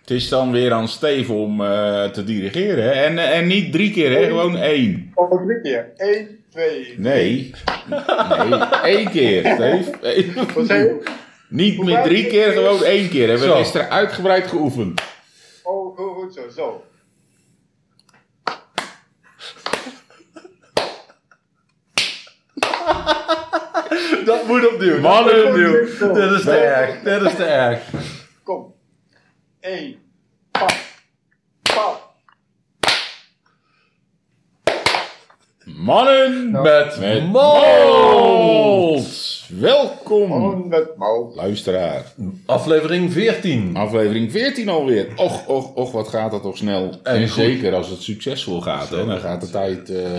Het is dan weer aan Steve om eh, te dirigeren. hè. En, eh, en niet drie keer, hè? gewoon één. Nog drie keer. 1, 2. Nee. nee. Eén keer, Steve. Eén- Wat zei je? Niet meer drie keer, gewoon één keer. Hebben we gisteren uitgebreid geoefend. Oh, goed, goed zo, zo. Dat moet opnieuw. Mannen, dat moet opnieuw. Dit is te erg. Dit is te erg. Kom. 1. Pap. Pap. Mannen Nou. met, met mols. Welkom, Mannen met mouw. luisteraar. Aflevering Ah, 14. Aflevering 14 alweer. Och, och, och, wat gaat dat toch snel. En, goed. zeker als het succesvol gaat, hè, dan gaat de tijd eh,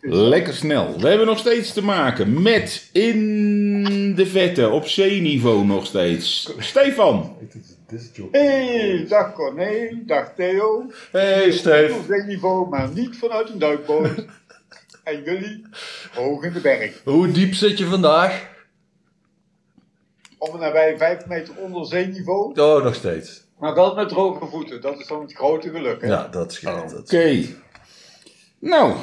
lekker snel. We hebben nog steeds te maken met in de vette, op C-niveau nog steeds. Stefan, Hey, dag Corné, dag Theo. Hey Steve. Op dit niveau, maar niet vanuit een duikboot. en jullie, hoog in de berg. Hoe diep zit je vandaag? Om en nabij 5 meter onder zeeniveau. Oh, nog steeds. Maar wel met droge voeten. Dat is dan het grote geluk. Hè? Ja, dat scheelt. Dat oké. Nou,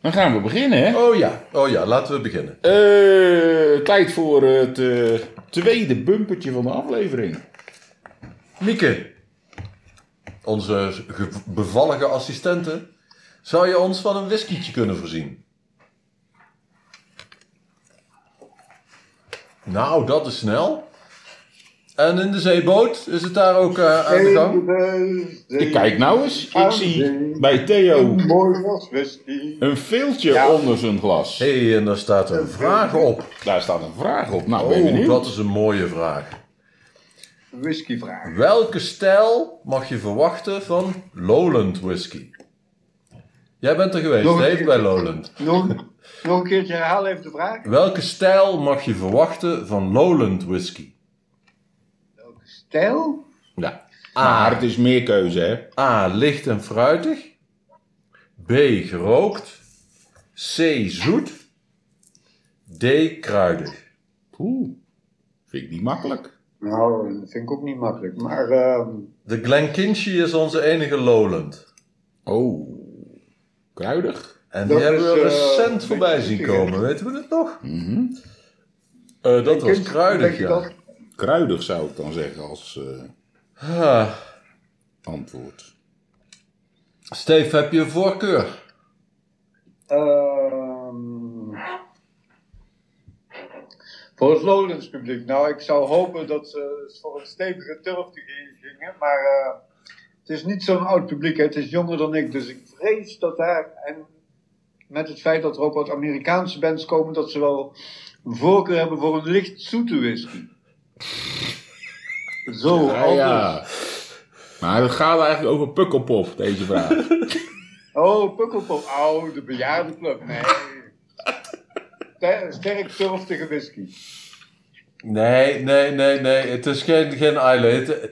dan gaan we beginnen, hè. Oh ja, oh ja, laten we beginnen. Eh, tijd voor het eh, tweede bumpertje van de aflevering. Mieke, onze ge- bevallige assistente, zou je ons van een whiskietje kunnen voorzien? Nou, dat is snel. En in de zeeboot is het daar ook eh, aan de gang? Ik kijk nou eens. Ik zie bij Theo Een Mooi was whisky. een veeltje Ja. onder zijn glas. Hé, en daar staat een vraag op. Daar staat een vraag op. Nou, ben je Oh, benieuwd? dat is een mooie vraag. Whiskyvraag. Welke stijl mag je verwachten van Lowland Whisky? Jij bent er geweest, Nog een Dave, keer. bij Lowland. Nog, nog een keertje herhaal even de vraag. Welke stijl mag je verwachten van Lowland Whisky? Stijl? Ja. Maar A. het is meer keuze, hè? A. Licht en fruitig. B. Gerookt. C. Zoet. D. Kruidig. Oeh, vind ik niet makkelijk. Nou, dat vind ik ook niet makkelijk. Maar ehm, De Glenkinchie is onze enige Lowland. Oh, kruidig. En Dat die hebben is, we eh, recent voorbij zien Glenkinchie. komen, weten we dat nog? Eh, dat was kind, kruidig, Mhm. denk je ja. dat? Kruidig zou ik dan zeggen als eh, Ah. antwoord. Steve, heb je een voorkeur? Ehm, voor het Lowlands publiek. Nou, ik zou hopen dat ze voor een stevige turf te gingen. Maar eh, het is niet zo'n oud publiek. Hè. Het is jonger dan ik. Dus ik vrees dat daar. En met het feit dat er ook wat Amerikaanse bands komen. dat ze wel een voorkeur hebben voor een licht zoete whisky. Zo, dus. Ja, anders. ja. Maar het gaat eigenlijk over pukkelpop, deze vraag. Oh, Pukkelpop. Oh, de bejaardenclub. Nee. Ster- Sterk turftige whisky. Nee, nee, nee, nee. Het is geen, geen island. Het,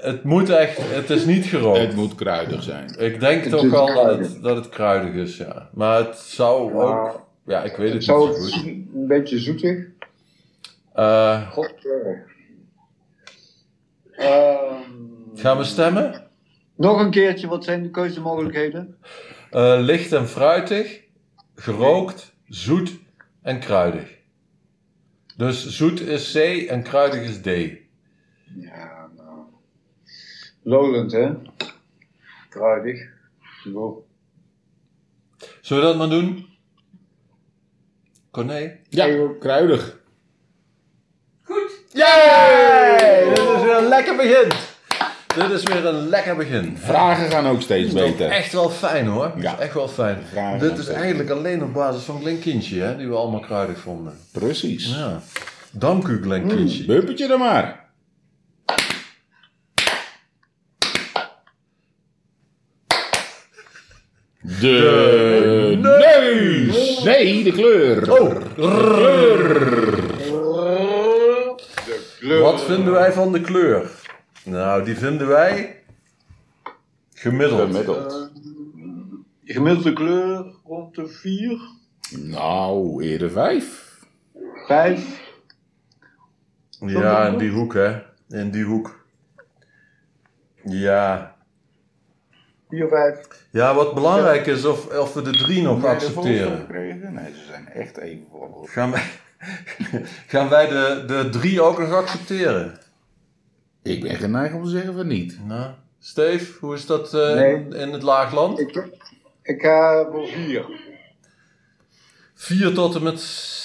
het moet echt, het is niet gerookt. het moet kruidig zijn. Ik denk Het toch is al dat kruidig. het, dat het kruidig is, ja. Maar het zou ook... Ja, ik weet het niet Zo zo het is goed. een beetje zoetig. Eh, God. Ehm, gaan we stemmen? nog een keertje, wat zijn de keuzemogelijkheden? Eh, licht en fruitig, gerookt, zoet en kruidig. Dus zoet is C en kruidig is D. Ja, nou. Lowland, hè? Kruidig. Wow. Zullen we dat maar doen? Corné? Ja, kruidig. Yay! Dit is weer een lekker begin. Dit is weer een lekker begin. Vragen gaan ook steeds Dat is beter. Echt wel fijn hoor. Dat Ja. is echt wel fijn. Vragen Dit aan is Peter. eigenlijk alleen op basis van Glenkinchie, hè, die we allemaal kruidig vonden. Precies. Ja. Dank u Glenkinchie. Bumpertje dan maar. De neus. Nee, de kleur. Oh, De kleur. Wat vinden wij van de kleur? Nou, die vinden wij gemiddeld. Gemiddeld. Ehm, Gemiddelde kleur rond de 4, Nou, eerder vijf. 5. Ja, in die hoek hè. In die hoek. Ja. Vier, vijf. ja, wat belangrijk is of, of we de drie nog Heb jij de accepteren. volgende gekregen? Nee, ze zijn echt even vol. Gaan wij, gaan wij de, de drie ook nog accepteren? Ik ben geneigd om te zeggen van niet. Nou, Steef, hoe is dat eh, Nee. in, in het laagland? Ik, ik ga voor vier. Vier tot en met...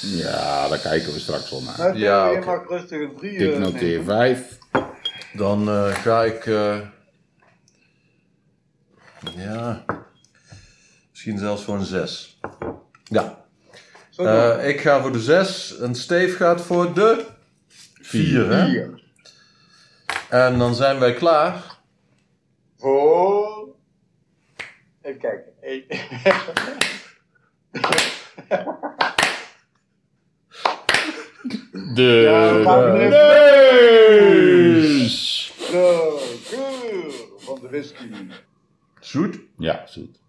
Ja, daar kijken we straks wel naar. Maar Ja, je oké. Nou, mag rustig een drie. Ik eh, noteer nemen. 5. Dan eh, ga ik... eh, ja... Misschien zelfs voor een zes. Ja, Zo Eh, ik ga voor de 6 en Steef gaat voor de 4. dan. hè? vier. En dan zijn wij klaar. Voor. Even kijken. Eén. Eh, De Ja, we maken de- er even- neus! De geur van de whisky. Zoet, Ja, zoet.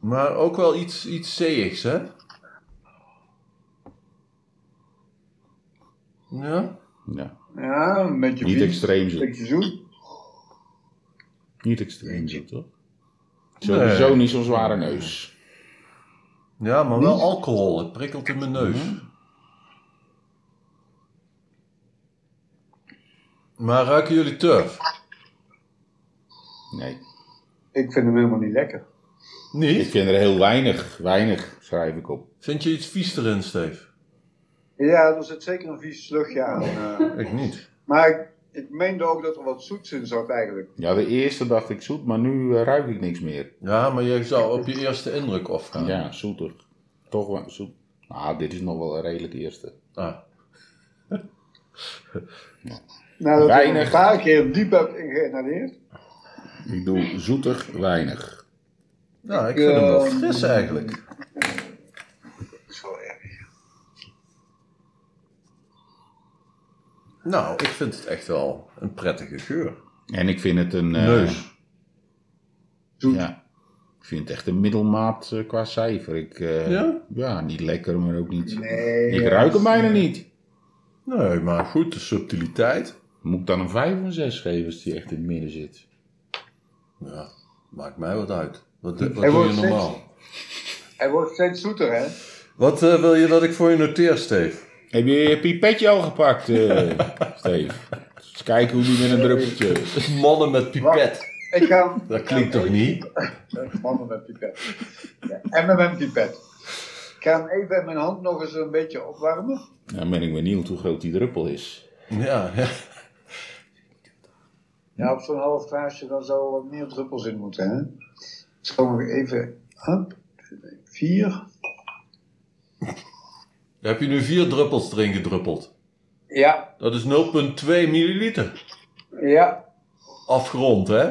maar ook wel iets, iets zeeigs, hè? Ja. Ja. Ja, een beetje Niet biet, extreem Een zoet. beetje zoet. Niet extreem zoet, toch? Sowieso Nee. niet zo'n zware neus. ja, maar wel alcohol. Het prikkelt in mijn neus. Maar ruiken jullie turf? Nee. Ik vind hem helemaal niet lekker. Ik Niet? vind er heel weinig, weinig, schrijf ik op. Vind je iets vies erin, Steef? Ja, er zit zeker een vies slugje aan. eh. Ik niet. Maar ik, ik meende ook dat er wat zoets in zat eigenlijk. Ja, de eerste dacht ik zoet, maar nu eh, ruik ik niks meer. Ja, maar je zou op je eerste indruk afgaan. Ja, zoeter. Toch wel zoet. Ah, dit is nog wel een redelijk eerste. Ah. Nadat ik hem Weinig. een paar keer diep heb ingeïnhaleerd. Ik doe zoeter, weinig. Nou, ik Ik, vind hem wel ehm, fris eigenlijk. Dat is wel erg. Nou, ik vind het echt wel een prettige geur. En ik vind het een... eh, Neus. Zoet. Ja. Ik vind het echt een middelmaat eh, qua cijfer. Ik, eh, Ja? niet lekker, maar ook niet... Nee. Ik ruik hem bijna niet. Nee, maar goed, de subtiliteit. Moet ik dan een 5 of een 6 geven als die echt in het midden zit? Ja, maakt mij wat uit. Wat, doe- wat Hij doe je wordt steeds- normaal? Hij wordt steeds zoeter, hè? Wat eh, wil je dat ik voor je noteer, Steef? Heb je je pipetje al gepakt, eh Steve? Eens kijken hoe die met een druppeltje. Mannen met pipet. Ik ga... Dat klinkt toch niet? Mannen met pipet. Ja, en met mijn pipet. Ik ga hem even in mijn hand nog eens een beetje opwarmen. Nou ben ik benieuwd hoe groot die druppel is. Ja, ja. Ja, op zo'n half glaasje dan zou er wat meer druppels in moeten, hè? Dus gaan we even... Hup. Vier. Daar heb je nu vier druppels erin gedruppeld. Ja. Dat is 0,2 milliliter. Ja. Afgerond, hè?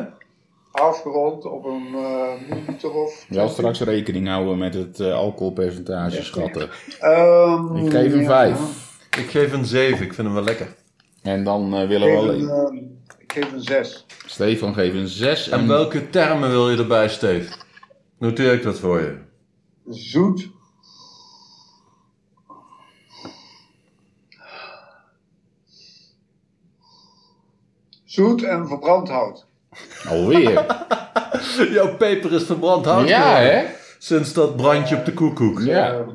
Afgerond op een eh milliliter of... Wel straks rekening houden met het eh, alcoholpercentage, schatten. Ehm, Ik geef een ja. 5. Ik geef een 7, ik vind hem wel lekker. En dan eh, willen Ik we geef een, alleen... ehm, ik geef een zes. Stefan geeft een 6 en... En welke termen wil je erbij, Steef? Noteer ik dat voor je. Zoet. Zoet en verbrand hout. Alweer. Jouw peper is verbrand hout ja, geworden. hè? Sinds dat brandje op de koekoek. Ja. Ehm,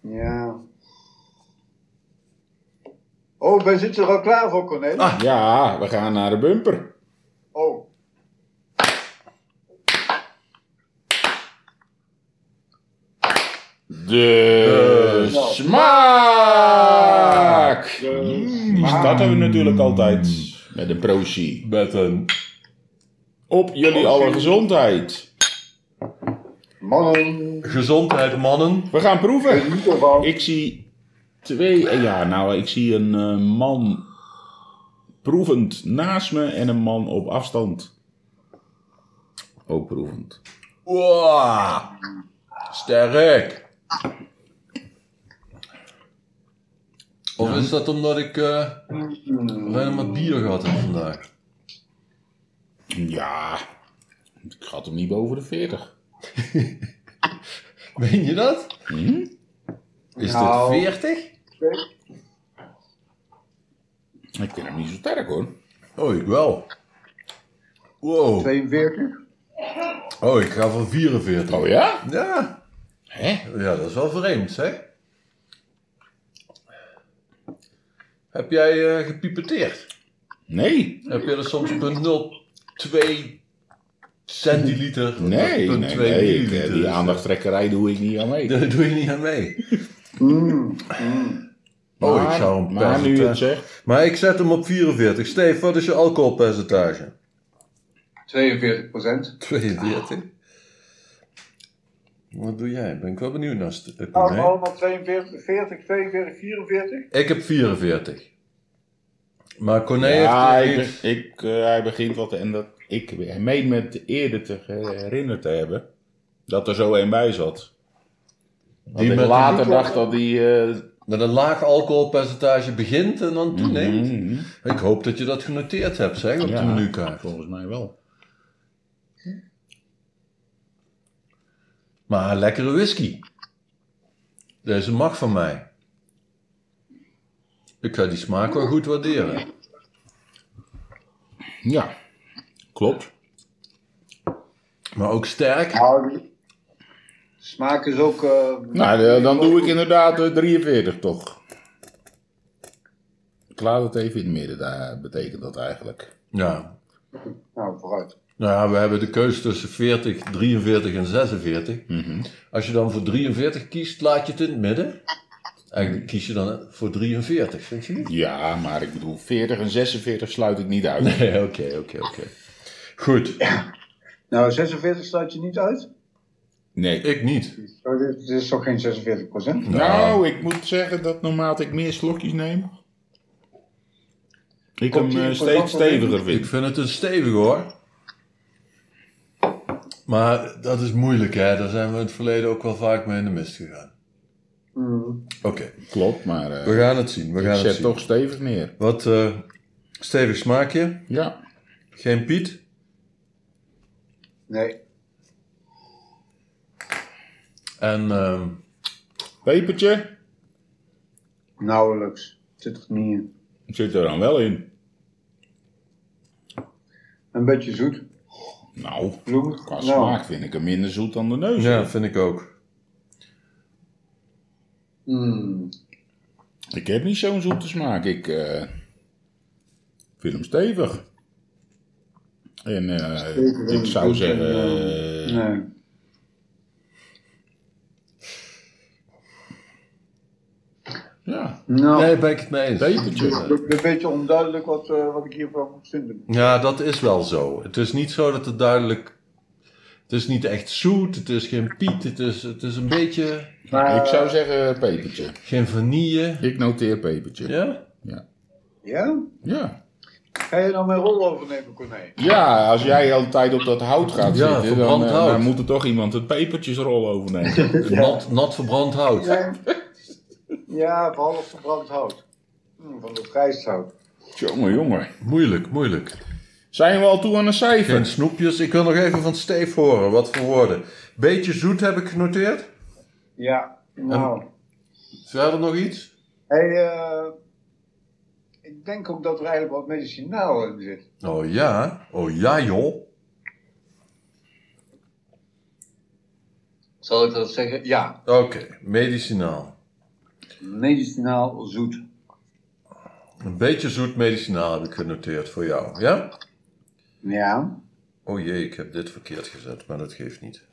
ja. Oh, wij zitten er al klaar voor, Corné. Ah. Ja, we gaan naar de bumper. Oh. De Eh, smaak! De Die smaak. starten we natuurlijk altijd met een prosie. Met een... Op jullie alle gezondheid. Mannen, Gezondheid, mannen. We gaan proeven. geniet ervan. Ik zie twee. eh, Ja, nou, ik zie een eh, man proevend naast me en een man op afstand. Ook proevend. Wow. Sterk. Of is dat omdat ik eh, alleen maar bier gehad heb vandaag? Ja, ik had hem niet boven de 40. Meen je dat? Hm? Is Nou. dit 40? Ik vind hem niet zo sterk hoor. Oh, ik wel. Wow. 42. Oh, ik ga voor 44. Oh ja? Ja. Hè? Ja, dat is wel vreemd, zeg. Heb jij eh, gepipeteerd? Nee. Heb je er soms 0,02 centiliter? Nee, nee, 0,2 nee. Ik, eh, milliliter? die aandachttrekkerij doe ik niet aan mee. Daar doe je niet aan mee. Mm, mm. Oh, ik Maar- zou hem Maar nu je het percentage- zegt. Maar ik zet hem op 44. Steef, wat is je alcoholpercentage? 42 procent. 42. Ah. Wat doe jij? Ben ik wel benieuwd naar. St- eh, Corné. Allemaal 42, 40, 42, 44. Ik heb 44. Maar Corné ja, heeft... ik, ik, eh, hij begint wat. En dat, ik meen me eerder te herinneren te hebben. Dat er zo een bij zat. Dat Die ik met- later dacht dat die... eh, met een laag alcoholpercentage begint en dan toeneemt. mhm. Ik hoop dat je dat genoteerd hebt, zeg, op Ja, de menukaart. Volgens mij wel. Maar lekkere whisky. Deze mag van mij. Ik ga die smaak wel goed waarderen. Ja, klopt. Maar ook sterk. Nou, die smaak is ook... eh, Nou, de- dan doe ik inderdaad eh, 43 toch. Ik laat het even in het midden, daar betekent dat eigenlijk. Ja. Nou, vooruit. Nou ja, we hebben de keuze tussen 40, 43 en 46. Mhm. Als je dan voor 43 kiest, laat je het in het midden. En kies je dan voor 43, vind je niet? Ja, maar ik bedoel, 40 en 46 sluit ik niet uit. Nee, oké, oké, oké. Goed, Nou, 46 sluit je niet uit. Nee. ik niet. Oh, dit, dit is toch geen 46 procent? Nou, ik moet zeggen dat naarmate ik meer slokjes neem, ik Komt hem ie eh, in steeds voor dat steviger Ik vind. vind het een stevig hoor. Maar dat is moeilijk hè, daar zijn we in het verleden ook wel vaak mee in de mist gegaan. Oké, Klopt, maar eh, we gaan het zien, we ik gaan het zet zien. toch stevig neer. Wat eh, stevig smaakje, Ja. geen Piet. Nee. En ehm, Pepertje Nauwelijks. Zit er niet in. zit er dan wel in. Een beetje zoet. Nou, Bloemig. qua Nou, smaak vind ik hem minder zoet dan de neus. ja, vind ik ook. mm, Ik heb niet zo'n zoete smaak. Ik eh, vind hem stevig. En eh, Stevig en ik zou zoet en, zeggen, eh, eh, nee. ja, Nou, Nee, ben ik het mee eens. het pepertje. is een beetje onduidelijk wat, eh, wat ik hiervan moet vinden. Ja, dat is wel zo. Het is niet zo dat het duidelijk... Het is niet echt zoet, het is geen Piet, het is, het is een beetje... Maar, Ik zou zeggen pepertje. Geen vanille. Ik noteer pepertje. Ja? Ja? ja. Ga je dan mijn rol overnemen, Corné? Ja, als jij de hele tijd op dat hout gaat Ja, zitten, dan, verbrand eh, hout. dan moet er toch iemand het pepertjesrol overnemen. Nat, nat verbrand hout. Ja, behalve verbrand hout. Hm, van dat rijsthout. jongen, jongen. Moeilijk, moeilijk. Zijn we al toe aan een cijfer? Geen snoepjes. Ik wil nog even van Steef horen. Wat voor woorden. Beetje zoet heb ik genoteerd. Ja, nou. Verder nog iets? Hey, eh, ik denk ook dat er eigenlijk wat medicinaal in zit. Oh ja. Oh ja joh. Zal ik dat zeggen? Ja. Oké, medicinaal. Medicinaal zoet. Een beetje zoet medicinaal heb ik genoteerd voor jou. Ja? Ja. Oh jee, ik heb dit verkeerd gezet, maar dat geeft niet.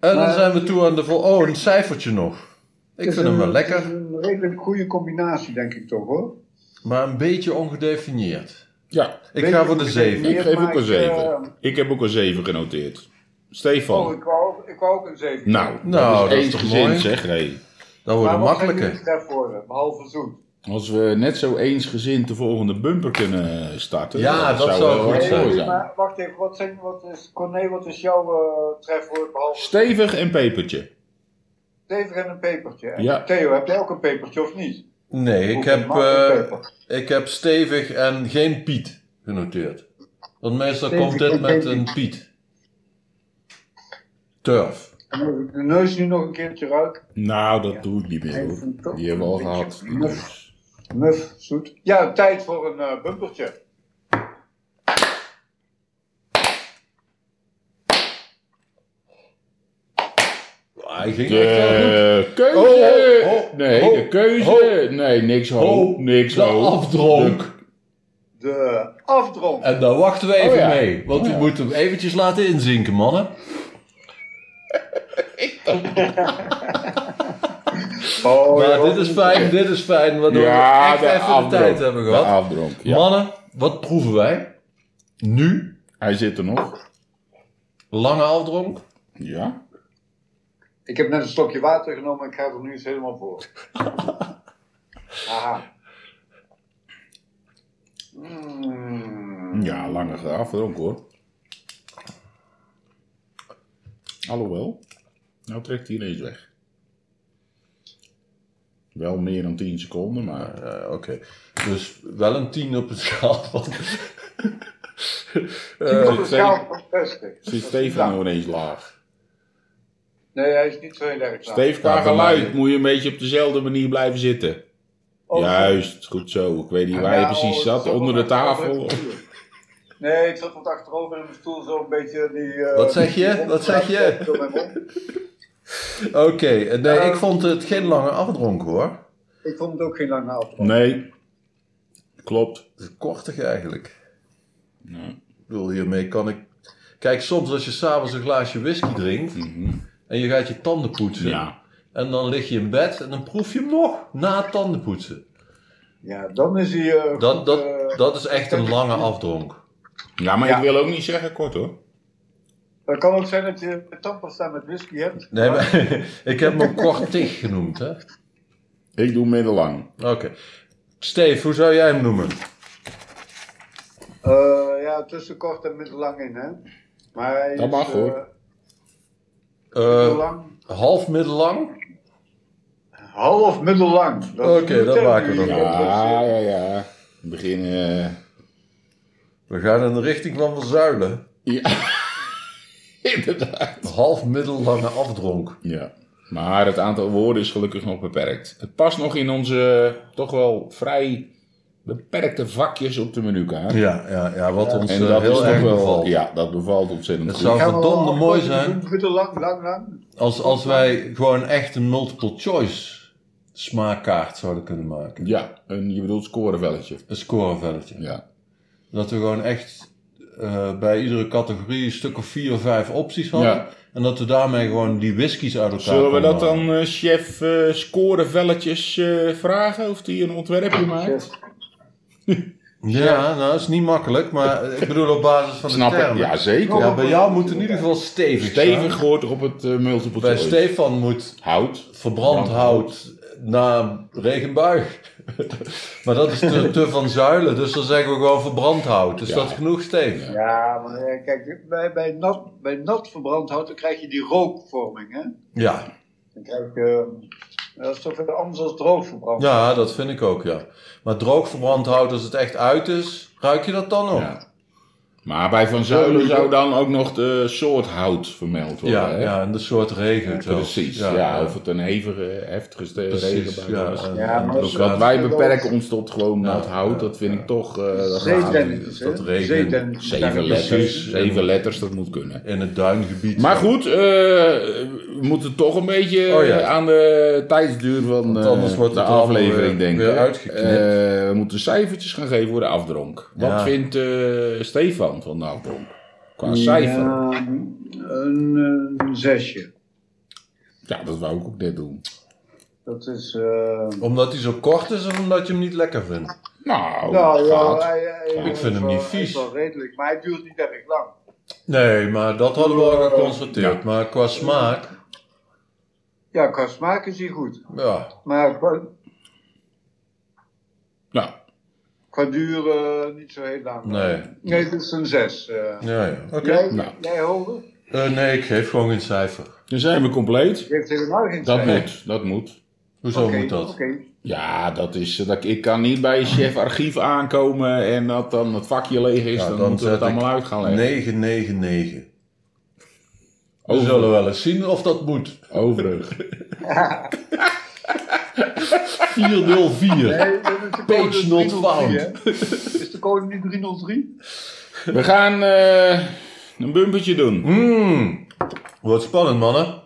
En dan Maar- zijn we toe aan de vol. Oh, een cijfertje nog. Ik Het is vind hem een- wel het is lekker, Een redelijk goede combinatie, denk ik toch hoor. maar een beetje ongedefinieerd. Ja, Ik Beetje ga voor de 7. ik Meer geef ook maak, een 7. eh, Ik heb ook een 7 genoteerd. Stefan. Oh, ik wou, ook- ik wou ook een 7. nou, Nou, dat dat is is eens toch gezind, mooi? zeg. Hey. Dat wordt een makkelijke. makkelijker. worden, eh, behalve zoet. Als we net zo eensgezind de volgende bumper kunnen eh, starten. Ja, dat zou wel goed heel zijn. mooi maar wacht even, wat, zijn, wat is, Corné, wat is jouw eh, trefwoord behalve Stevig en pepertje. stevig en een pepertje? En Ja. Theo, heb jij ook een pepertje of niet? Nee, ik Of heb, mag een eh, peper? ik heb stevig en geen Piet genoteerd. Want meestal Stevig komt dit en met geen een Piet. Turf. Dan moet ik de neus nu nog een keertje ruiken. Nou, dat Ja. doe ik niet meer. Ik vind het Hoor. toch Die hebben we al een gehad. beetje Muf, zoet. Ja, tijd voor een eh, bumpertje. hij ging echt heel goed. De keuze. Oh, oh, oh, nee, oh, de keuze. oh. nee, niks ho. Oh, niks de ho. afdronk. De afdronk. En daar wachten we even Oh ja. mee. Want Oh we ja. moeten hem eventjes laten inzinken, mannen. Oh, maar joh. dit is fijn, dit is fijn. Waardoor ja, we echt de even afdronk. de tijd hebben De gehad. afdronk, ja. Mannen, wat proeven wij? Nu, Hij zit er nog. lange afdronk. Ja. Ik heb net een slokje water genomen en ik ga er nu eens helemaal voor. Aha. Hmm. Mm. Ja, lange afdronk hoor. Alhoewel. Nou trekt hij ineens weg. Wel meer dan 10 seconden, maar... Eh, Oké, dus wel een 10 op een schaal van... Eh, Die op de zit schaal Steve- van Pestek. Zit Stefan nou ineens laag? Nee, hij is niet zo heel erg laag. Steef, qua Ja, bij geluid mij- moet je een beetje op dezelfde manier blijven zitten. Oh, Juist, goed zo. Ik weet niet waar je Ja, precies oh, zat, ik onder de wat achterover tafel. in mijn stoel. Nee, ik zat wat achterover in mijn stoel, zo een beetje die... eh, Wat zeg je? die Wat zeg je? door mijn mond. Oké, eh, nee, ik vond het geen lange afdronk hoor. Ik vond het ook geen lange avond. Nee, klopt. Het is Kortig eigenlijk. Ja. Ik bedoel, hiermee kan ik... Kijk, soms als je s'avonds een glaasje whisky drinkt Mhm. en je gaat je tanden poetsen... Ja. En dan lig je in bed en dan proef je hem nog na het tandenpoetsen. Ja, dan is hij... eh, Dat, goed, dat, eh, dat is echt een lange afdronk. ja, maar Ja. ik wil ook niet zeggen kort hoor. dat kan ook zijn dat je tandpasta met whisky hebt. Nee, maar ik heb hem ook kortig genoemd, hè? Oké. Ik doe middellang. Steve, hoe zou jij hem noemen? Eh, ja, tussen kort en middellang in, hè. Maar hij Dat is, mag, eh, hoor. Eh Middellang. half middellang? Half middellang. Dat is Oké, een dat term maken we Dus, eh, die- dan. Ja, ja, ja. We beginnen. We gaan in de richting van Verzuilen. Ja. eh, Inderdaad. Half middellange afdronk. Ja. Maar het aantal woorden is gelukkig nog beperkt. Het past nog in onze eh, toch wel vrij beperkte vakjes op de menukaart. Ja, ja, ja wat ons En eh, dat is heel toch erg wel. bevalt. Ja, dat bevalt ontzettend Het goed. zou- Gaan we Verdomde wel mooi afkorten, zijn. Middellang, lang, lang. Als, als wij gewoon echt een multiple choice smaakkaart zouden kunnen maken. Ja, en je bedoelt scorevelletje. Een scorevelletje. Ja. Dat we gewoon echt eh, bij iedere categorie een stuk of vier of vijf opties hadden. Ja. En dat we daarmee gewoon die whiskies uit elkaar Zullen we konden dat halen. dan eh, chef eh scorevelletjes eh, vragen? Of die een ontwerpje maakt? Yes. Ja, nou, dat is niet makkelijk, maar eh, ik bedoel op basis van Snap de ik? termen. Ja, zeker. Ja, bij jou moet in ieder geval stevig zijn. Stevig hoort op het eh, multiple Bij choice. Stefan moet Hout. verbrand Brand- hout na regenbui. maar dat is te, te van zuilen, dus dan zeggen we gewoon verbrand hout. Is Ja. dat genoeg, Steven? Ja, maar eh, kijk, bij, bij, nat, bij nat verbrand hout dan krijg je die rookvorming, hè. Ja. Dan krijg je... eh, dat is toch weer anders dan droog verbrand. ja, dat vind ik ook, ja. Maar droog verbrand hout, als het echt uit is, ruik je dat dan nog? Ja. Maar bij Van Zuilen zou dan ook nog de soort hout vermeld worden. Ja, hè? ja, en de soort regen. zelfs. Precies. Ja, of het een hevige, heftige ste- precies. regenbui Ja, was. en- Ja, en maar ook, zo- ja, Want wij beperken ons tot gewoon Ja, nat hout. ja, Dat vind ja. ik toch... eh, dat gaat niet. Zeedennis, is hè. dat regen. Zeedennis. Zeven Precies. letters. Zeven letters, dat moet kunnen. in het duingebied. Maar ja. goed, eh, we moeten toch een beetje Oh ja. eh, aan de tijdsduur van Want eh, anders wordt de het allemaal aflevering weer- denken. weer uitgeknipt. Eh, we moeten cijfertjes gaan geven voor de afdronk. Wat Ja. vindt eh, Stefan van de afdronk? Qua cijfer. Ja, een, eh, zesje. Ja, dat wou ik ook net doen. Dat is... eh, Omdat hij zo kort is of omdat je hem niet lekker vindt? Nou, nou gaat. ja, hij- hij- Ik hij is Oh, vind hem wel- niet hij vies. is wel redelijk, maar hij duurt niet erg lang. Nee, maar dat hadden we al geconstateerd. Oh, Ja. Maar qua smaak, Ja, qua smaak is hij goed. ja. Maar qua, Nou, qua duur eh, niet zo heel lang. Nee. Nee, het is een zes. eh. Ja, ja. Oké. Jij, Nou. jij hoger? Eh, nee, ik geef gewoon geen cijfer. dan zijn we compleet. Je hebt helemaal geen Dat cijfer. moet, dat moet. Hoezo Oké, moet dat? oké. Ja, dat is, eh, dat, ik kan niet bij chef archief aankomen en dat dan het vakje leeg is. Ja, dan, dan moeten we het zet ik allemaal uit gaan leggen. 999. We Over- zullen wel eens zien of dat moet. Overig. 404. Nee, dat is de code Page not 303, found. hè? Is de code niet 303? We gaan eh, een bumpertje doen. Hmm. Mmm. Wordt spannend, mannen.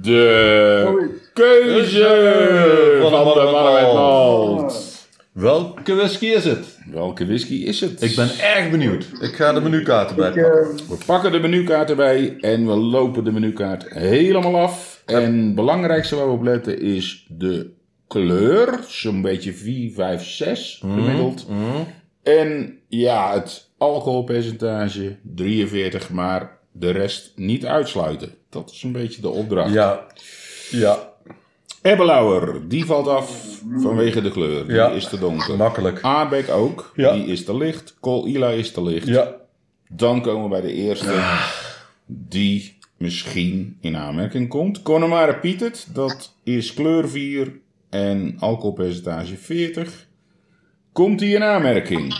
De keuze van de man met Oh, Ah, malt. Welke whisky is het? Welke whisky is het? Ik ben erg benieuwd. Ik ga de menukaart erbij Ik, eh, pakken. We pakken de menukaart erbij en we lopen de menukaart helemaal af. En het belangrijkste waar we op letten is de kleur. Zo'n beetje 4, 5, 6 Mhm, gemiddeld. En ja, het alcoholpercentage 43, maar de rest niet uitsluiten. Dat is een beetje de opdracht. Ja, ja, Ebbelauer, die valt af vanwege de kleur. Die Ja. is te donker. makkelijk. Aardbeek ook, Ja. die is te licht. Kool-Ila is te licht. Ja, Ah. Dan komen we bij de eerste die misschien in aanmerking komt. Connemara Pietert, dat is kleur 4 en alcoholpercentage 40. Komt die in aanmerking?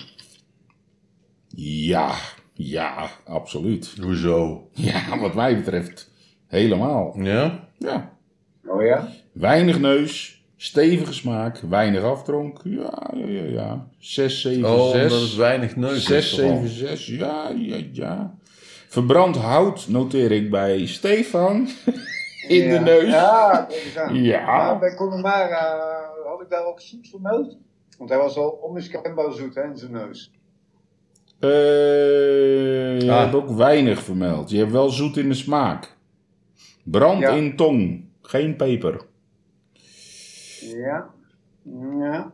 Ja, ja, absoluut. hoezo? Ja, wat mij betreft helemaal. Ja? Ja, Oh ja? weinig neus, stevige smaak, weinig aftronk. Ja, ja, ja, ja. 6, 7, Oh, 6. dat is weinig neus. 6, is toch al. 7, 6, ja, ja, ja. Verbrand hout noteer ik bij Stefan. In Ja. de neus. Ja, dat is aan. Ja. Maar bij Connemara eh, had ik daar ook zoet vermeld. Want hij was al onmiskenbaar zoet hè, in zijn neus. Eh, je Ah. hebt ook weinig vermeld. Je hebt wel zoet in de smaak. Brand Ja. in tong. Geen peper. Ja. Ja.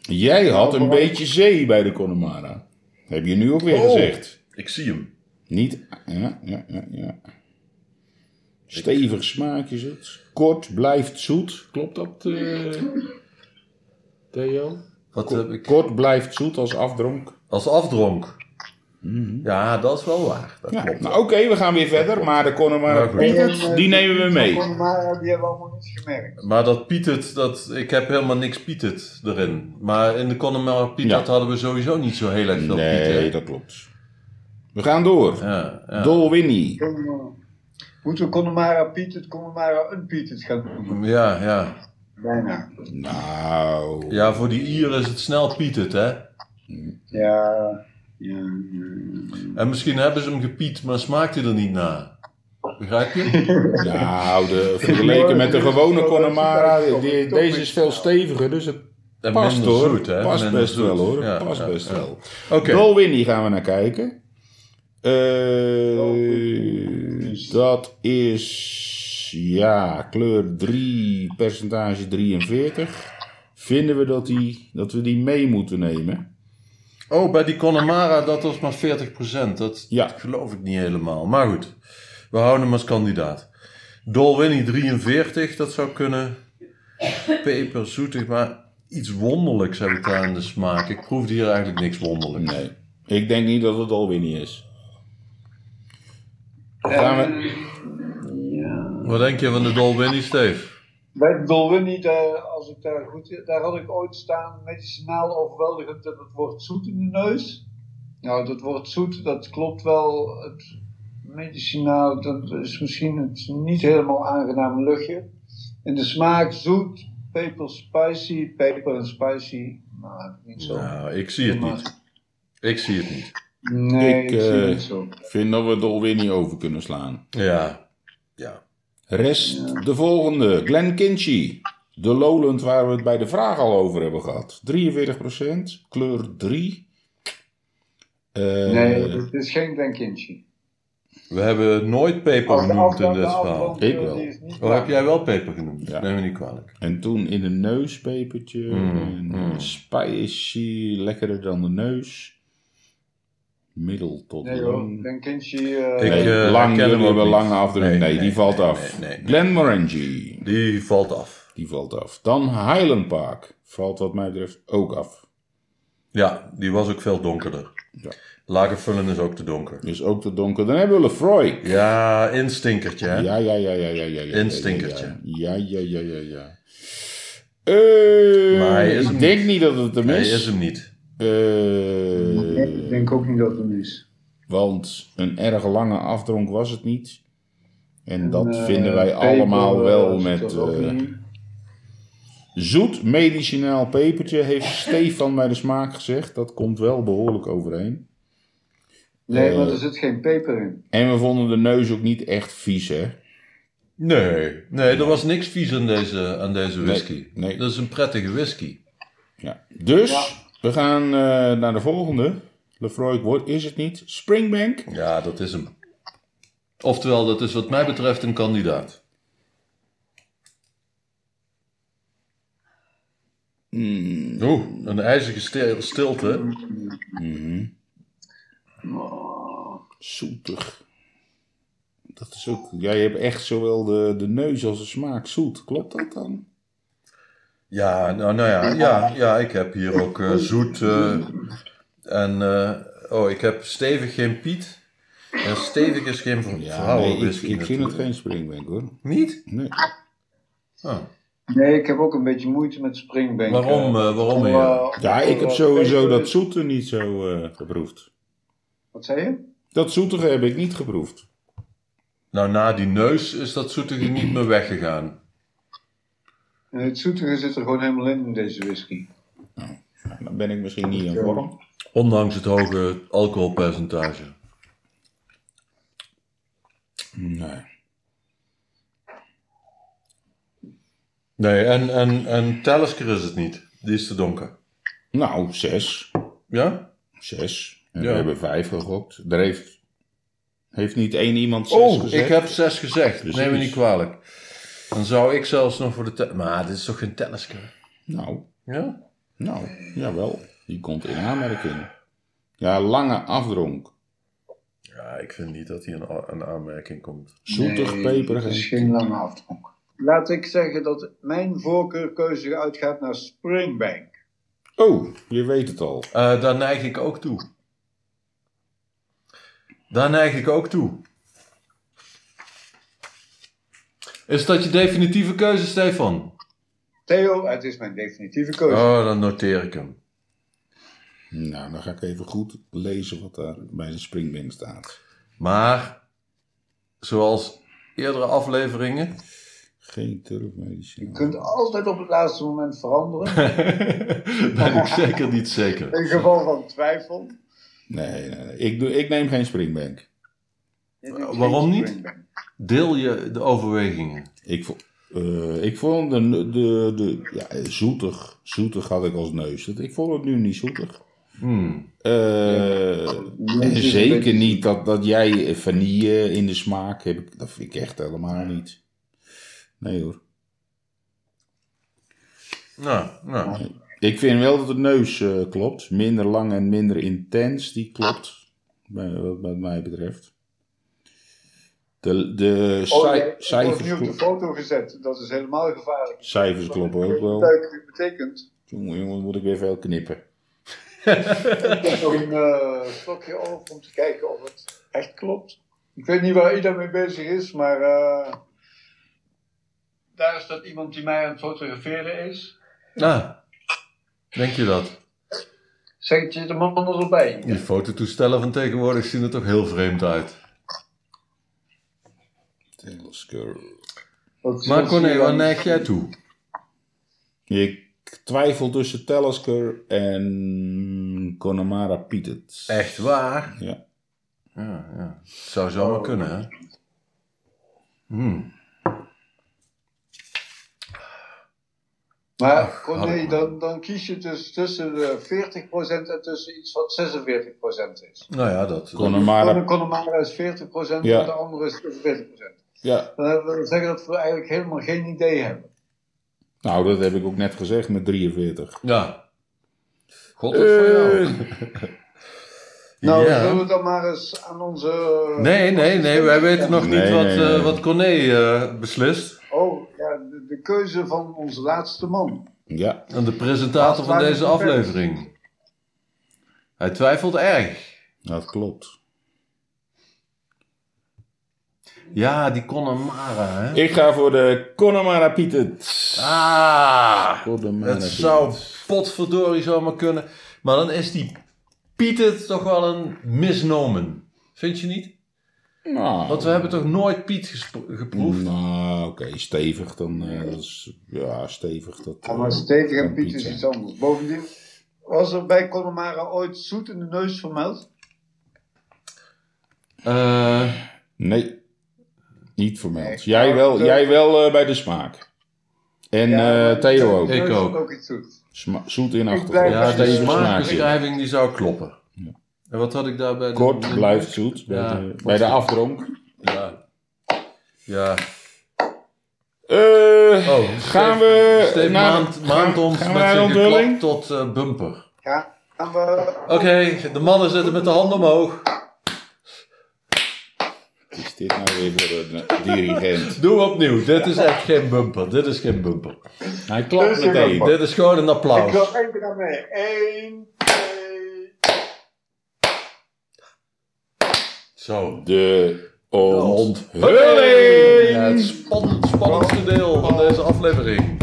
Jij had een maar- beetje zee bij de Connemara. Heb je nu ook weer Oh. gezegd. Ik zie hem. Niet... Ja, ja, ja, ja. Stevig smaakje zoet. Kort blijft zoet. Klopt dat, eh, Theo? Wat heb ik? Kort blijft zoet als afdronk. Als afdronk. Ja, dat is wel waar. Dat Mhm. Ja, klopt. nou, Oké, we gaan weer verder, maar de Connemara Nou, goed. Pietert, die nemen we mee. Van eh, Connemara, die hebben we allemaal niet gemerkt. Maar dat pietert, dat, ik heb helemaal niks pietert erin. Maar in de Connemara pietert Ja. hadden we sowieso niet zo heel erg veel Nee, pietert. dat klopt. We gaan door. Ja, ja. Dol Winnie. Kunnen- Moeten we Connemara Pietert, Connemara Unpietert gaan doen? ja, ja. Bijna. Nou, Ja, voor die Ieren is het snel pietert, hè. Ja. Ja. ja. En misschien hebben ze hem gepiet, maar smaakt hij er niet naar. Begrijp je? nou de, vergeleken met de gewone Connemara, die- deze is veel steviger, dus het En past minder hoor. zoet, hè. Past Minder best zoet. wel hoor, Ja, past ja, best ja. wel. Oké. Dol Winnie gaan we naar kijken. Eh, dat is, ja, kleur 3, percentage 43. Vinden we dat, die, dat we die mee moeten nemen? Oh, bij die Connemara, dat was maar 40%. Dat Ja. geloof ik niet helemaal. Maar goed, we houden hem als kandidaat. Dolwinny 43, dat zou kunnen. Peper, zoetig, maar iets wonderlijks heb ik daar in de smaak. Ik proefde hier eigenlijk niks wonderlijks. Nee. Ik denk niet dat het Dol Winnie is. Gaan we, Wat denk je van de Dolwinny, Steve? Bij Dolwin niet, eh, als ik daar goed... Daar had ik ooit staan, medicinaal overweldigend, en het wordt zoet in de neus. Nou, dat wordt zoet, dat klopt wel. Het medicinaal, dat is misschien het niet helemaal aangename luchtje. En de smaak zoet, peper, spicy, peper en spicy. Nou, niet zo. Nou, ik zie het niet. Ik zie het niet. Nee, Ik, ik, zie eh, het niet zo. vind dat we Dol Winnie over kunnen slaan. Ja. Ja. Rest de volgende. Glen Kinchy. De Lowland waar we het bij de vraag al over hebben gehad. 43%, kleur 3. Eh, Nee, het is geen denkindje. We hebben nooit peper genoemd in dit verhaal. Ik wel. Oh, heb jij wel peper genoemd? Ja. Neem me niet kwalijk. En toen in de neus pepertje. Mm, en Spicy, lekkerder dan de neus. Middel tot Nee lang. hoor, denkindje... Ik, Nee, eh, lang, herken hem jullie ook hebben niet. lange afdruk. Nee, Nee, die nee, valt nee, af. nee, nee, nee. Glen Morangi, Die valt af. die valt af. Dan Highland Park, valt wat mij betreft ook af. Ja, die was ook veel donkerder. Ja. Lagervullen is ook te donker. Dus ook te donker. Dan hebben we Lefroy. Ja, instinkertje, hè? Ja, ja, ja, ja, ja, ja. ja Een ja, stinkertje. Ja, ja, ja, ja, ja. Eh, Maar hij is hem ik denk niet. niet dat het hem Hij is. is hem niet. Eh, ik denk ook niet dat het is. Want een erg lange afdronk was het niet. En dat Eh, vinden wij peper, allemaal wel eh, met zit er ook eh, niet in. zoet medicinaal pepertje, heeft Stefan bij de smaak gezegd. Dat komt wel behoorlijk overeen. Nee, eh, want er zit geen peper in. En we vonden de neus ook niet echt vies, hè? Nee, nee, er was niks vies aan deze, aan deze Nee, whisky. nee. Dat is een prettige whisky. Ja. Dus Ja. we gaan eh, naar de volgende. Lefroy wordt is het niet. Springbank. Ja, dat is hem. Oftewel, dat is wat mij betreft een kandidaat. Hmm. Oeh, een ijzige stil- stilte. Zoetig. Dat is ook. Jij hebt echt zowel de, de neus als de smaak zoet. Klopt dat dan? Ja, nou, nou ja, ja, ja, ik heb hier ook eh, zoet. eh, en, eh, oh, ik heb stevig geen piet. En stevig is geen ver- nee, ik, vrouwenwhisky. ik vind het natuurlijk. geen springbank hoor. Niet? Nee. Oh, Nee, ik heb ook een beetje moeite met springbank. Waarom, eh. eh, waarom, Om, heren? eh, Ja, om, ik heb eh, sowieso beter- dat zoete niet zo eh, geproefd. Wat zei je? Dat zoetige heb ik niet geproefd. Nou, na die neus is dat zoetige niet meer weggegaan. Eh, Het zoetige zit er gewoon helemaal in, in deze whisky. Nou, Dan ben ik misschien niet in vorm. Ondanks het hoge alcoholpercentage. Nee. Nee, en, en, en Talisker is het niet. Die is te donker. Nou, zes. Ja? Zes. En Ja. we hebben vijf gegokt. Er heeft, heeft niet één iemand zes Oh, gezegd. ik heb zes gezegd. Precies. Neem me niet kwalijk. Dan zou ik zelfs nog voor de... Te- maar dit is toch geen Talisker? Nou, Ja? nou, jawel. Die komt in aanmerking. Ja, lange afdronk. Ja, ik vind niet dat hij een, a- een aanmerking komt. Zoetig, Nee, peperig Het is en... geen lange afdronk. Laat ik zeggen dat mijn voorkeurkeuze uitgaat naar springbank. Oh, je weet het al. Eh, daar neig ik ook toe. Daar neig ik ook toe. Is dat je definitieve keuze, Stefan? Theo, het is mijn definitieve keuze. Oh, dan noteer ik hem. Nou, dan ga ik even goed lezen wat daar bij de springbank staat. Maar, zoals eerdere afleveringen, Geen turfmedicijn. Je kunt altijd op het laatste moment veranderen. ben ik zeker niet zeker. In geval van twijfel. Nee, nee, nee. Ik, doe, ik neem geen springbank. Je neemt Eh, waarom geen niet? springbank. Deel je de overwegingen. Ik, vo- eh, ik vond de, de, de ja, zoetig. Zoetig had ik als neus. Dat- Ik vond het nu niet zoetig. Hmm. Eh, en zeker niet dat, dat jij vanille in de smaak hebt. Dat vind ik echt helemaal niet. Nee hoor. Nou, nou. Ik vind wel dat de neus eh, klopt. Minder lang en minder intens, die klopt. Bij, wat, wat mij betreft. De, de Oh, ci- nee, ik word cijfers, nu op de klo- foto gezet. Dat is helemaal gevaarlijk. cijfers kloppen ook Wat wel. dat betekent. Jongen, jongen, moet ik weer veel knippen. Ik heb nog een eh slokje over om te kijken of het echt klopt. Ik weet niet waar Ida mee bezig is, maar eh, daar is dat iemand die mij aan het fotograferen is. Nou, denk je dat? Zeg het je de man erbij? Die fototoestellen van tegenwoordig zien er toch heel vreemd uit. Telescope. Wat- Maar wat zie Corné, je waar dan? neig jij toe? Ik twijfel tussen Telescope en Connemara Pietet. Eh, Echt waar? Ja. Ja, ja. Zou zomaar kunnen, hè? Hmm. Maar Corné, hallo. dan, dan kies je dus tussen de 40% en tussen iets wat 46% is. Nou ja, dat... De Connemara. Connemara is 40% Ja. en de andere is 46%. Ja. Eh, Dat wil zeggen dat we eigenlijk helemaal geen idee hebben. Nou, dat heb ik ook net gezegd met 43. Ja. God, dat voor jou. Nou, Eh. Ja. zullen we dan maar eens aan onze... Nee, nee, nee, wij weten nog Nee, niet wat, nee, eh, nee. wat Corné eh, beslist. Oh, ja, de, de keuze van onze laatste man. Ja. En de presentator van Laat het deze maar even aflevering. Hij twijfelt erg. Dat klopt. Ja, die Connemara, hè? Ik ga voor de Connemara Pietet. Ah! Connemara Het Pietet. zou potverdorie zomaar kunnen. Maar dan is die Piet toch wel een misnomen. Vind je niet? Nou, Want we hebben toch nooit Piet gespro- geproefd? Nou, oké, stevig dan. eh, dat is, ja, stevig. Dat, Ja, eh, maar stevig en kan Piet is zijn. iets anders. Bovendien, was er bij Connemara ooit zoet in de neus vermeld? Eh, Nee, Niet vermeld. Nee. jij wel, jij wel eh, bij de smaak. En Ja, eh, Theo ook. Neus Ik ook. is ook iets zoets. Sma- zoet in Ik achtergrond. blijf- Ja, dat is de een smaakje. smaakbeschrijving die zou kloppen. Ja. En wat had ik daarbij? Kort, blijft zoet. Ja. bij, de, bij de afdronk. Ja. Ja. Eh, Oh, gaan we Steef naar- maand, gaan- maand ons gaan we met naar de zijn onthulling? geklap tot eh, bumper. Ja, gaan we... Oké, de mannen zitten met de handen omhoog. wat is dit nou weer voor een dirigent? Doe opnieuw. Dit is echt geen bumper. Dit is geen bumper. Hij klapt Dus ik meteen. ook. Dit is gewoon een Ik applaus. wil één keer aan mee. Eén, twee... Zo. De De onthulling. Oh. Ja, het spannend, spannendste deel van deze aflevering.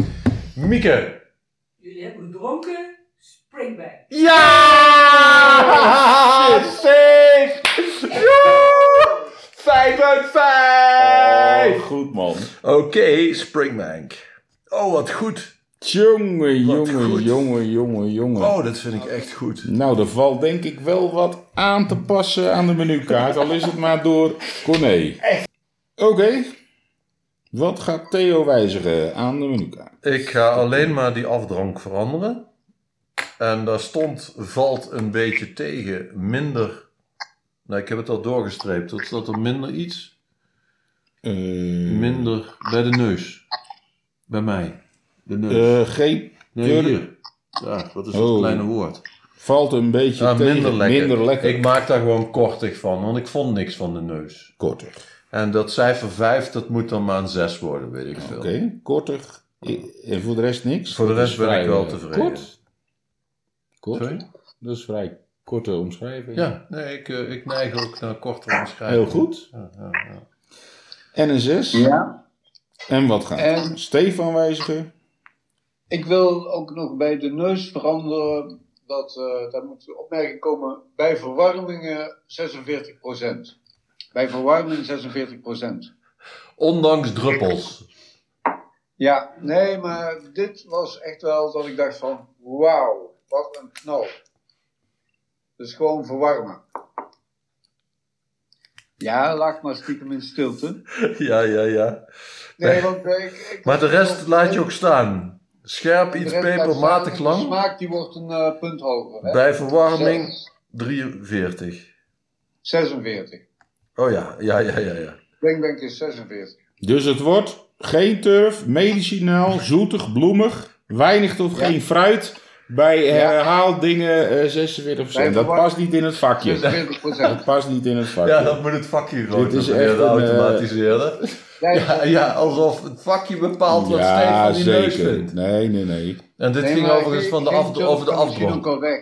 Mieke. Jullie hebben gedronken, springback. Ja! Safe! Ja! 5 uit 5! Oh, goed man. Oké, Springbank. Oh, wat goed. Jongen, Wat jongen, goed. jongen, jongen, jongen. Oh, dat vind ik echt goed. Nou, er valt denk ik wel wat aan te passen aan de menukaart, al is het maar door Corné. Oké. Wat gaat Theo wijzigen aan de menukaart? Ik ga alleen maar die afdrank veranderen. En daar stond, valt een beetje tegen, minder. Nou, ik heb het al doorgestreept. Dat staat er minder iets. Eh, Minder bij de neus. Bij mij. De neus. eh, geen nee, jurk. hier. Ja, dat is Oh. dat kleine woord. valt een beetje Ah, tegen. minder lekker. Minder lekker. Ik maak daar gewoon kortig van, want ik vond niks van de neus. Korter. En dat cijfer 5, dat moet dan maar een 6 worden, weet ik veel. Oké, korter. I- En voor de rest niks? Voor de rest Dat is ben ik vrij, wel eh, tevreden. Kort? Kort? Sorry? Dat is vrij korte omschrijving. Ja, nee, ik, eh, ik neig ook naar kortere omschrijvingen. Heel goed. Ja, ja, ja. En een 6. Ja, En wat gaat En- Stefan wijzigen? ik wil ook nog bij de neus veranderen. Dat, eh, daar moet een opmerking komen. Bij verwarmingen 46%. Bij verwarming 46%. Ondanks druppels. Ja, nee, maar dit was echt wel dat ik dacht van... Wauw, wat een knal. Dus gewoon verwarmen. Ja, laat maar stiekem in stilte. Ja, ja, ja. Nee, want eh, ik, ik- Maar de rest laat je ook staan. Scherp, iets De rest laat pepermatig staan en De lang. smaak die wordt een eh, punt hoger. Hè? Bij verwarming 43. 46. Oh ja, ja, ja, ja. ja. Denkbank is 46. Dus het wordt geen turf, medicinaal, zoetig, bloemig, weinig tot Ja. geen fruit. Bij herhaaldingen eh, 46 Bij Dat verwar- past niet in het vakje. 46 Dat past niet in het vakje. Ja, dat moet het vakje gewoon Dit is doen, meneer echt de een, eh, automatiseerde. Nee, Ja, ja, alsof het vakje bepaalt wat Ja, Stefan die neus zeker. vindt. Nee, nee, nee. En dit nee, ging maar overigens geen- van de geen af, joke over de kan misschien afdronk. ook al weg.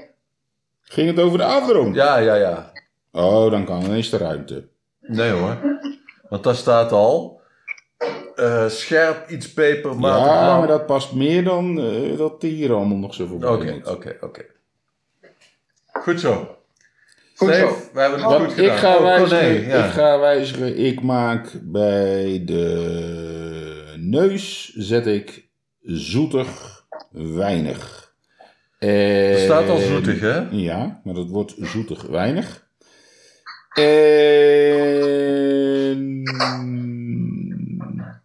Ging het over de afdronk? Ja, ja, ja. Oh, dan kan ineens de ruimte. Nee hoor. Want daar staat al... eh, scherp, iets pepermatig ja, lang. maar dat past meer dan eh, dat die hier allemaal nog zo voorbij Oké, moet. oké, oké. Goed zo. Goed zo. Steef, We hebben het Oh, goed Wat gedaan. ik ga, Oh, wijzigen, Corné, ja. ik ga wijzigen, ik maak bij de neus zet ik zoetig weinig. Er Er staat al zoetig, hè? Ja, maar dat wordt zoetig weinig. En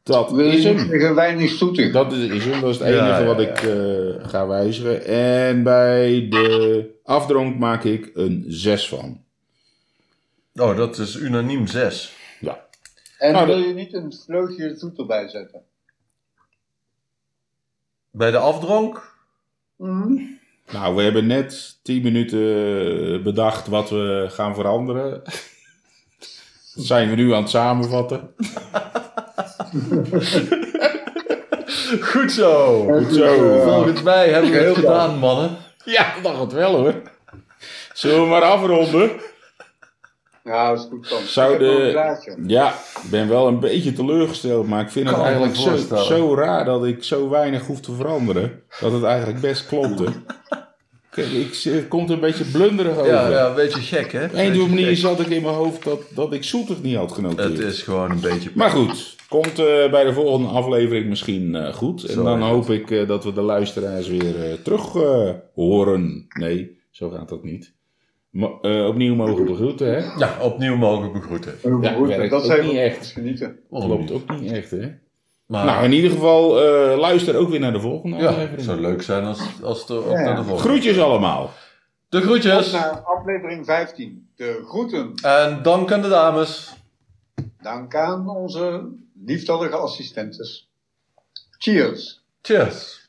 dat Wil is je niet hem. zeggen weinig zoetig? Dat is, is hem, dat is het enige Ja, ja, wat ja. ik eh, ga wijzigen. En bij de afdronk maak ik een 6 van. Oh, dat is unaniem 6. Ja. En Nou, wil dat- je niet een vleugje zoet erbij zetten? Bij de afdronk? Nou, we hebben net 10 minuten eh, bedacht wat we gaan veranderen. Dat zijn we nu aan het samenvatten. Goed zo. Goed zo. Volgens mij hebben we Heel het goed. gedaan, mannen. Ja, dat dacht het wel hoor. Zullen we maar afronden? Ja, dat Nou, is goed dan. Zou Ik heb nog een de... blaadje. Ja, ik ben wel een beetje teleurgesteld, maar ik vind het Kan me eigenlijk zo, voorstellen. zo raar dat ik zo weinig hoef te veranderen. Dat het eigenlijk best klopte. Kijk, ik, het komt een beetje blunderig over. Ja, ja, een beetje gek, Op hè? een of andere Beetje manier gek. zat ik in mijn hoofd dat, dat ik zoetig niet had genoteerd. Het is gewoon een beetje... Maar goed, komt eh, bij de volgende aflevering misschien eh, goed. En Zo dan is het. hoop ik eh, dat we de luisteraars weer eh, terug eh, horen. Nee, zo gaat dat niet. mo- eh, opnieuw mogen begroeten, hè? Ja, opnieuw mogen begroeten. Ja, werkt dat ook zijn niet we echt. genieten. Waarom Klopt niet? ook niet echt, hè? Maar Nou, in ieder geval, eh, luister ook weer naar de volgende ja, het aflevering. zou leuk zijn als, als de, ook Ja. naar de volgende. Groetjes allemaal. De Tot Dus- groetjes. naar aflevering 15. De groeten. En dank aan de dames. Dank aan onze liefdallige assistentes. Cheers. Cheers.